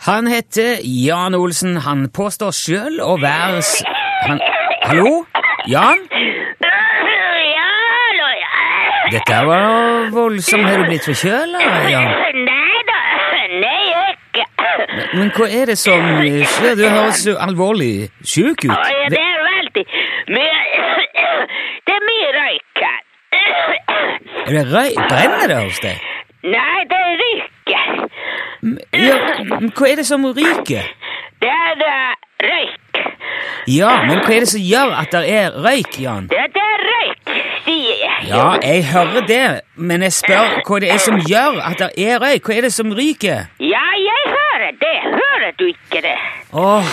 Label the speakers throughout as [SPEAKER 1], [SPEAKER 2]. [SPEAKER 1] Han heter Jan Olsen. Han påstår sjøl å være s- han... Hallo? Jan?
[SPEAKER 2] Ja, hallo, ja.
[SPEAKER 1] Dette var voldsomt. Har du blitt forkjøla, Jan?
[SPEAKER 2] Nei da, nei ikke.
[SPEAKER 1] Men hva er det som eh, skjer? Du høres jo alvorlig sjuk ut.
[SPEAKER 2] Å, ja,
[SPEAKER 1] Det-
[SPEAKER 2] det er veldig mye Det er mye røyk her.
[SPEAKER 1] Er det røy? Brenner det hos deg?
[SPEAKER 2] Nei, det ryker.
[SPEAKER 1] M- Ja, men hva er det som ryker?
[SPEAKER 2] Det er eh, røyk.
[SPEAKER 1] Ja, men hva er det som gjør at det er røyk, Jan?
[SPEAKER 2] Ja, det er røyk, sier jeg.
[SPEAKER 1] Ja, jeg hører det, men jeg spør hva det er som gjør at det er røyk. Hva er det som ryker?
[SPEAKER 2] Ja, jeg hører det. Hører du ikke det?
[SPEAKER 1] Åh,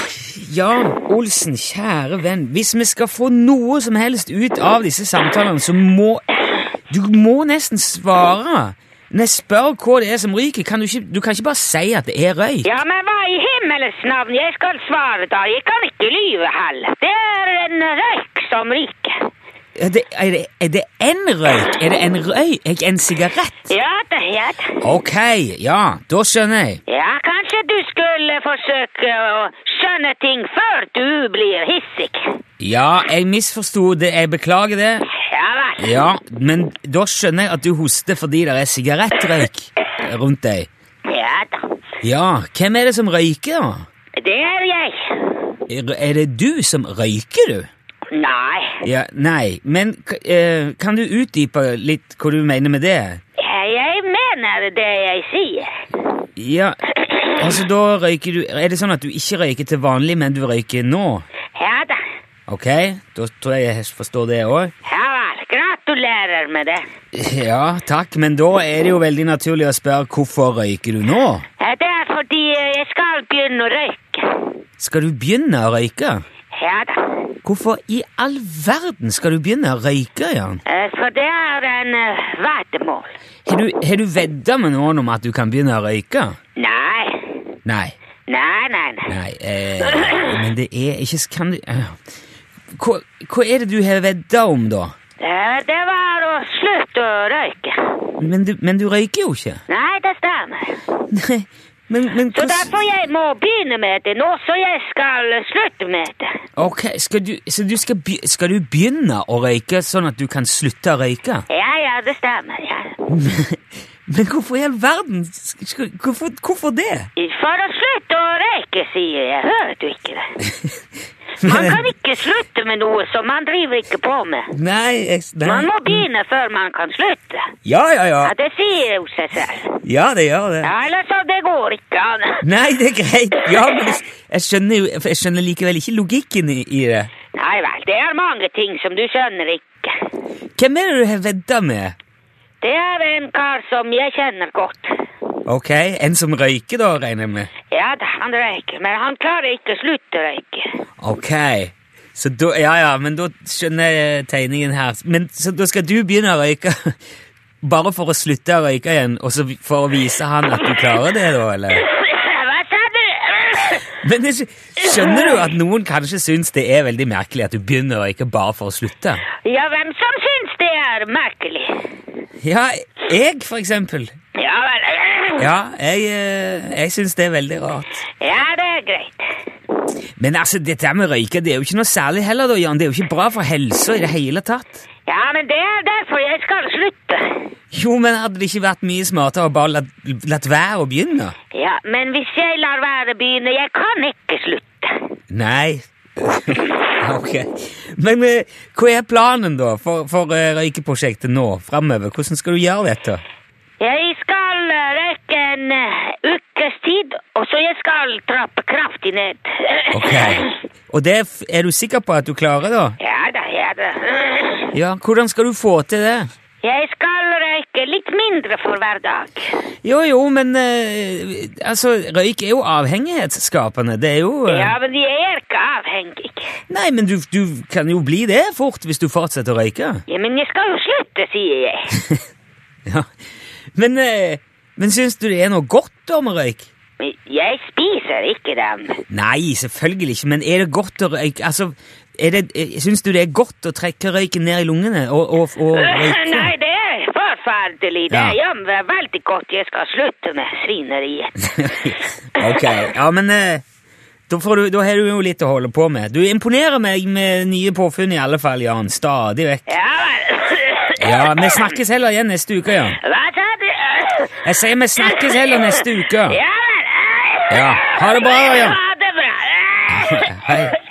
[SPEAKER 1] Jan Olsen, kjære venn. Hvis vi skal få noe som helst ut av disse samtalene, så må Du må nesten svare. Når jeg spør hva det er som ryker, kan du ikke, du kan ikke bare si at det er røyk.
[SPEAKER 2] Ja, men hva i himmelens navn? Jeg skal svare da. Jeg kan ikke lyve heller. Det er en røyk som ryker.
[SPEAKER 1] Er det, er det, er det en røyk? Er det en røyk? En sigarett?
[SPEAKER 2] Ja da, ja da.
[SPEAKER 1] Ok, ja, da skjønner jeg.
[SPEAKER 2] Ja, kanskje du skulle forsøke å skjønne ting før du blir hissig.
[SPEAKER 1] Ja, jeg misforsto det, jeg beklager det.
[SPEAKER 2] Ja vel.
[SPEAKER 1] Ja, men da skjønner jeg at du hoster fordi det er sigarettrøyk rundt deg.
[SPEAKER 2] Ja da.
[SPEAKER 1] Ja, hvem er det som røyker, da?
[SPEAKER 2] Det er jeg.
[SPEAKER 1] Er er det du som røyker, du?
[SPEAKER 2] Nei.
[SPEAKER 1] Ja, nei, men k- eh, kan du utdype litt hva du mener med det?
[SPEAKER 2] Jeg mener det jeg sier.
[SPEAKER 1] Ja, altså da røyker du Er det sånn at du ikke røyker til vanlig, men du røyker nå?
[SPEAKER 2] Ja da.
[SPEAKER 1] Ok, da tror jeg jeg forstår det òg.
[SPEAKER 2] Ja vel. Gratulerer med det.
[SPEAKER 1] Ja, takk, men da er det jo veldig naturlig å spørre hvorfor røyker du nå?
[SPEAKER 2] Ja, Det er fordi jeg skal begynne å røyke.
[SPEAKER 1] Skal du begynne å røyke?
[SPEAKER 2] Ja da.
[SPEAKER 1] Hvorfor i all verden skal du begynne å røyke, Jan?
[SPEAKER 2] Eh, For det er en eh, veddemål.
[SPEAKER 1] Har du, har du vedda med noen om at du kan begynne å røyke?
[SPEAKER 2] Nei.
[SPEAKER 1] Nei.
[SPEAKER 2] Nei, nei, nei.
[SPEAKER 1] Nei, eh, men det er ikke Kan du eh, hva, hva er det du har vedda om, da?
[SPEAKER 2] Eh, Det var å slutte å røyke.
[SPEAKER 1] Men du, men du røyker jo ikke.
[SPEAKER 2] Nei, det stemmer.
[SPEAKER 1] Nei, men, men
[SPEAKER 2] Så
[SPEAKER 1] hvordan-
[SPEAKER 2] derfor jeg må begynne med det nå, så jeg skal slutte med det.
[SPEAKER 1] Ok, skal du, Så du skal, be- skal du begynne å røyke sånn at du kan slutte å røyke?
[SPEAKER 2] Ja, ja, det stemmer. Ja.
[SPEAKER 1] Men hvorfor i all verden? Skal- Hvorfor, hvorfor det?
[SPEAKER 2] For å slutte å røyke, sier jeg. Hører du ikke det? Man kan ikke slutte med noe som man driver ikke på med.
[SPEAKER 1] Nei, jeg, nei.
[SPEAKER 2] Man må begynne før man kan slutte.
[SPEAKER 1] Ja, ja, ja.
[SPEAKER 2] Ja, det sier jo seg selv.
[SPEAKER 1] Ja, det gjør det.
[SPEAKER 2] Ja, ellers så det går ikke an.
[SPEAKER 1] Nei, det er greit. Ja, men jeg, jeg, skjønner, jo- jeg skjønner likevel ikke logikken i, i det.
[SPEAKER 2] Nei vel, det er mange ting som du skjønner ikke.
[SPEAKER 1] Hvem er det du har vedda med?
[SPEAKER 2] Det er en kar som jeg kjenner godt.
[SPEAKER 1] Ok, En som røyker, da, regner jeg med.
[SPEAKER 2] Ja, da, han røyker, men han klarer ikke å slutte å røyke.
[SPEAKER 1] Ok. Så da, ja, ja, men da skjønner jeg tegningen her. Men Så da skal du begynne å røyke? Bare for å slutte å røyke igjen, og så vi- for å vise han at du klarer det, da? eller?
[SPEAKER 2] Hva sa du?
[SPEAKER 1] Men det, Skjønner du at noen kanskje syns det er veldig merkelig at du begynner å røyke bare for å slutte?
[SPEAKER 2] Ja, hvem som syns det er merkelig?
[SPEAKER 1] Ja, jeg, for eksempel.
[SPEAKER 2] Ja vel. Ja,
[SPEAKER 1] Ja, jeg, eh, jeg syns det er veldig rart.
[SPEAKER 2] det er greit.
[SPEAKER 1] Men altså, dette med røyke det er jo ikke noe særlig heller, da, Jan. Det er jo ikke bra for helsa i det hele tatt.
[SPEAKER 2] Ja, men det er derfor jeg skal slutte.
[SPEAKER 1] Jo, men hadde det ikke vært mye smartere å bare latt, latt være å begynne?
[SPEAKER 2] Ja, men hvis jeg lar være å begynne, jeg kan ikke slutte.
[SPEAKER 1] Nei. ok. Men eh, hva er planen, da, for, for eh, røykeprosjektet nå framover? Hvordan skal du gjøre dette?
[SPEAKER 2] Jeg skal eh, røyke en eh, ukes tid, og så jeg skal trappe kraftig ned.
[SPEAKER 1] Ok. Og det f- er du sikker på at du klarer, da?
[SPEAKER 2] Ja da, ja da.
[SPEAKER 1] Ja, hvordan skal du få til det?
[SPEAKER 2] Jeg skal røyke litt mindre for hver dag.
[SPEAKER 1] Jo, jo, men eh, altså, røyk er jo avhengighetsskapende. Det er jo eh,
[SPEAKER 2] Ja, men jeg er ikke avhengig.
[SPEAKER 1] Nei, men du, du kan jo bli det fort hvis du fortsetter å røyke.
[SPEAKER 2] Ja, men jeg skal jo slutte, sier jeg.
[SPEAKER 1] Ja. Men, eh, men syns du det er noe godt om røyk?
[SPEAKER 2] Men Jeg spiser ikke dem.
[SPEAKER 1] Nei, selvfølgelig ikke, men er det godt å røyke Altså, er det, eh, syns du det er godt å trekke røyken ned i lungene og, og, og røyke?
[SPEAKER 2] Nei, det er forferdelig. forferdelig. Det
[SPEAKER 1] Ja.
[SPEAKER 2] er jammen veldig godt jeg skal slutte med svineriet.
[SPEAKER 1] ok, ja, men eh, da, får du, da har du jo litt å holde på med. Du imponerer meg med nye påfunn i alle fall, Jan. Stadig vekk.
[SPEAKER 2] Ja vel.
[SPEAKER 1] Ja, vi snakkes heller igjen neste uke, Jan.
[SPEAKER 2] Hva sa du?
[SPEAKER 1] Jeg sier vi snakkes heller neste uke.
[SPEAKER 2] Ja vel.
[SPEAKER 1] Ja, ha det bra, Jan.
[SPEAKER 2] Ha det bra.
[SPEAKER 1] Hei.